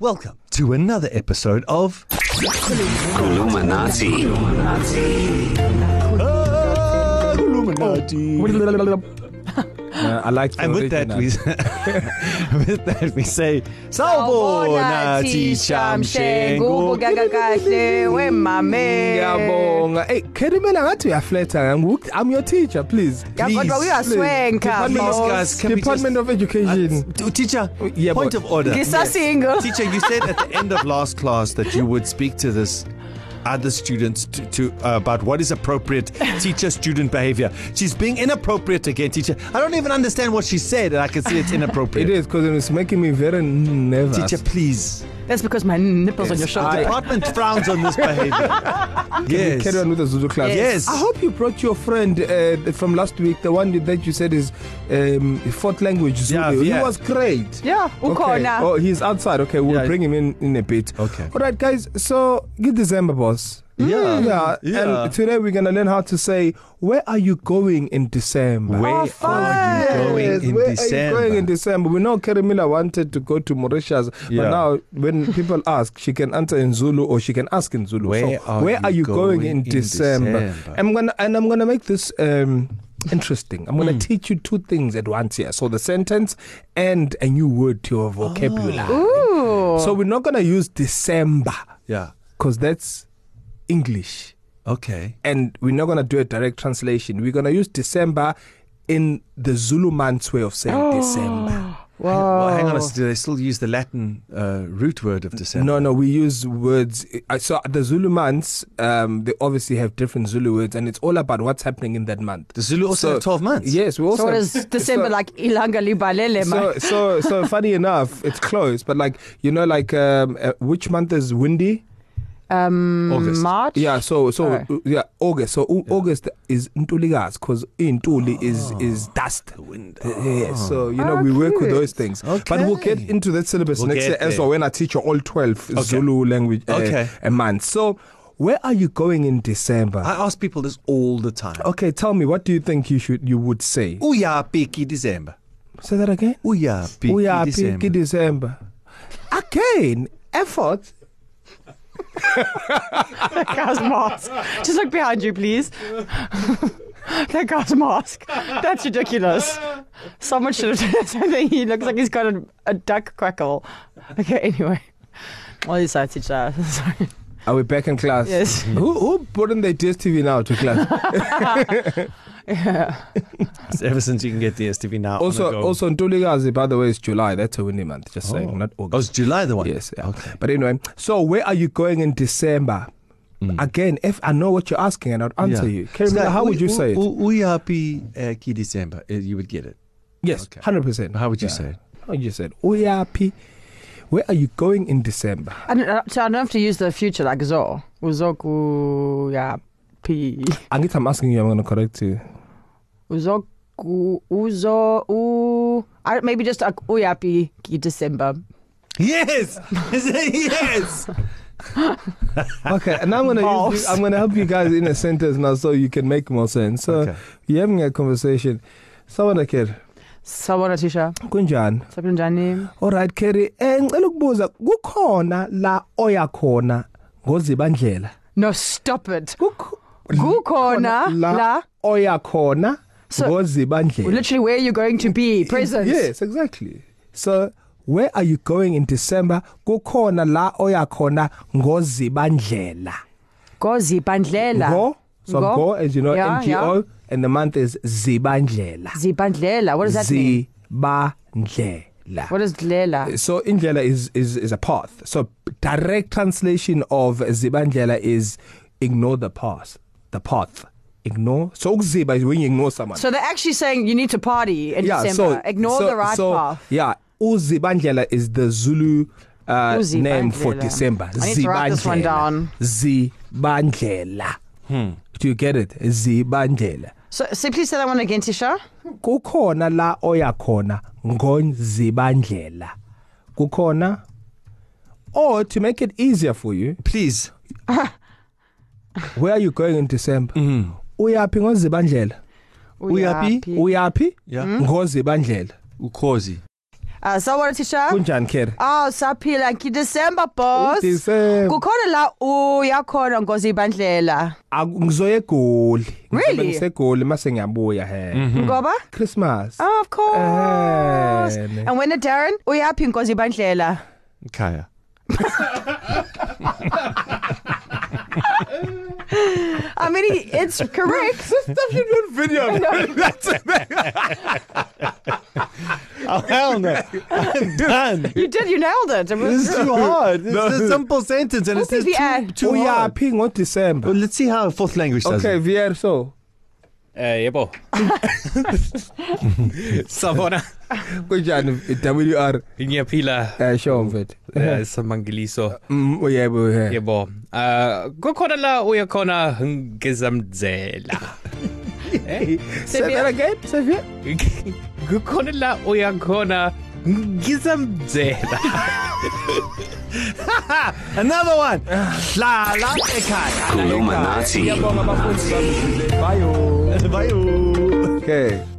Welcome to another episode of Illuminati. Oh. Illuminati. Uh, I like. the And with that original. we with that we say Sawubona Gugu Tishamshengo. gaga kahle wemame. Ngiyabonga. eh, Hey, Kerimela ngathi uyaflatter. Ngu- I'm your teacher, please. Kodwa Please, uyaswenka. Department of- boss. guys, can we Department just- of Education. Uh, Teacher, Yeah, point but- of order. Ngisasingle. Teacher, you said at the end of last class that you would speak to this other students to, to uh, about what is appropriate teacher-student behavior. She's being inappropriate again, teacher. I don't even understand what she said, and I can see it's inappropriate. It is because it's making me very nervous. Teacher, please. That's because my nipples yes, on your The shoulder. I- department frowns on this behavior. yes. Carry on with the Zulu class. Yes. I hope you brought your friend uh, from last week, the one that you said is um, fourth language Zulu. Yeah, He yeah. was great. Yeah, Okay. ukhona. Oh, he's outside. Okay, we'll Yeah. yeah. bring him in in a bit. Okay. All right, guys. So good December, boss. Yeah. yeah. Yeah. And today we're gonna learn how to say, "Where are you going in December?" Where Oh, oh, are you fun. going in where December? Are you going in December? We know Kerry Miller wanted to go to Mauritius, yeah. Yeah. but now when people ask, she can answer in Zulu or she can ask in Zulu. Where so, are where you are you going, going going in in December? December? December? I'm gonna and I'm gonna make this um, interesting. I'm gonna mm. teach you two things at once here. So the sentence and a new word to your vocabulary. Oh. So we're not gonna use December yeah. because that's English. Okay. and we're not going to do a direct translation. We're going to use December in the Zulu man's way of saying oh. December. Well, hang on. a s- Do they still use the Latin uh, root word of December? No, no, we use words. uh, So the Zulu months, um, they obviously have different Zulu words, and it's all about what's happening in that month. The Zulu also so, So- have 12 months. Yes, we also. So it's December so, like ilanga libalele man. So, so, so funny enough, it's close, but like you know, like um, uh, which month is windy? Um August. March. Yeah, so so Alright. uh, yeah, August. So yeah. August is Ntuligas because Ntuli oh. is is dust. The wind. Oh. Yeah, so you know Ah, we work with cute. those things. Okay. But we'll get into that syllabus We'll we'll next get year as there. well when I teach you all 12 okay. Zulu language uh, Okay. okay. a month. So where are you going in December? I ask people this all the time. okay, tell me what do you think you should you would say? Ooh. Uya piki December. Say that again. Uya piki Uya December. piki December. Again, effort. That guy's mask. Just look behind you, please. that guy's mask. That's ridiculous. Someone should have done something. He looks like he's got a, a duck quackle. Okay, anyway. Well, you said teacher. uh, Sorry. Are we back in class? Yes. who who brought in the DSTV now to class? Ever since you can get the STV now. on the also go. also Ntulikazi by the way is July that's a windy month just oh. saying not Oh, August it's July the one. yes yeah. Okay. okay but anyway so where are you going in December mm. again if I know what you're asking and I'll answer yeah. you Kerry so how would you say it Uya piki December. Uh, You would get it. yes okay. 100% How would you yeah. say it? how would you say it uyapi where are you going in December I don't, uh, so I don't have to use the future like zo. Uzoku ya pi. I get I'm asking you I'm going to correct you Uzoku uzo u. I, maybe just like uyapi ki December. Yes. yes. okay and I'm going to Balls. use you, I'm going to help you guys in a sentence now so you can make more sense so Okay. okay. you're having a conversation Sawona Kerry Sawona Tisha. kunjani Sabini njani? Alright Kerry, eh ngicela ukubuza kukhona la oya khona ngozibandlela. No, stop it. Kukho- Kukhona la. oya khona So- ngozibandlela. Literally, where are you going to be? Present. Yes, exactly. So where are you going in December? Kukhona la oya khona ngozibandlela. Gozi bandlela. Ngo so Ngo. go as you know Yeah, NGO yeah. and the month is zibandlela. Zibandlela. What does that mean? Zibandlela. What is dlela? So indlela is is is a path. So direct translation of zibandlela is ignore the path. The path. Ignore. So ukuziba is when you ignore someone. So they're actually saying you need to party in December. Ignore so, the right so, path. Yeah, uzibandlela is the Zulu uh, Uzibandlela. name for December. I need to write this one down. Zibandlela. Hmm. Do you get it? Zibandlela. So simply say that one again, Tisha. Kukhona la oya khona ngozibandlela. Kukhona or to make it easier for you Please. Where are you going in December? Mm. Uyapi ngozibandlela? Uyapi? Uyapi? Hmm? Yeah. Ngozibandlela. Ukozi. Sawona thisha. kunjani kere Aw saphila ngiDecember boss. December. Kukhona la uyakhona ngozi bandlela. Aku- ngizoya egoli Really? ngisegoli mase ngiyabuya he Ngoba? christmas Oh, of course. Eh, And when the Darren uyaphi ngozi bandlela. Kaya. I mean he- it's correct. stuff you do on video Oh, hell no. I'm done. You did you nailed it. it This is was, too hard. This is a simple sentence and it's just Uphi too, VR? too hard. uyaphi ngo December Well, let's see how fourth language does okay it. vr so Eh yebo. Sabona kunjani wr ngiyaphila eh show mfethu eh, samangiliso Mm, uyebo he yebo. Ah kukhona la uyakhona ngezamdzela. say that again say vr Kukhona la uyakhona ngizamdzela. Another one. Hlala ekhaya. Kulumanati. bayo Bye. okay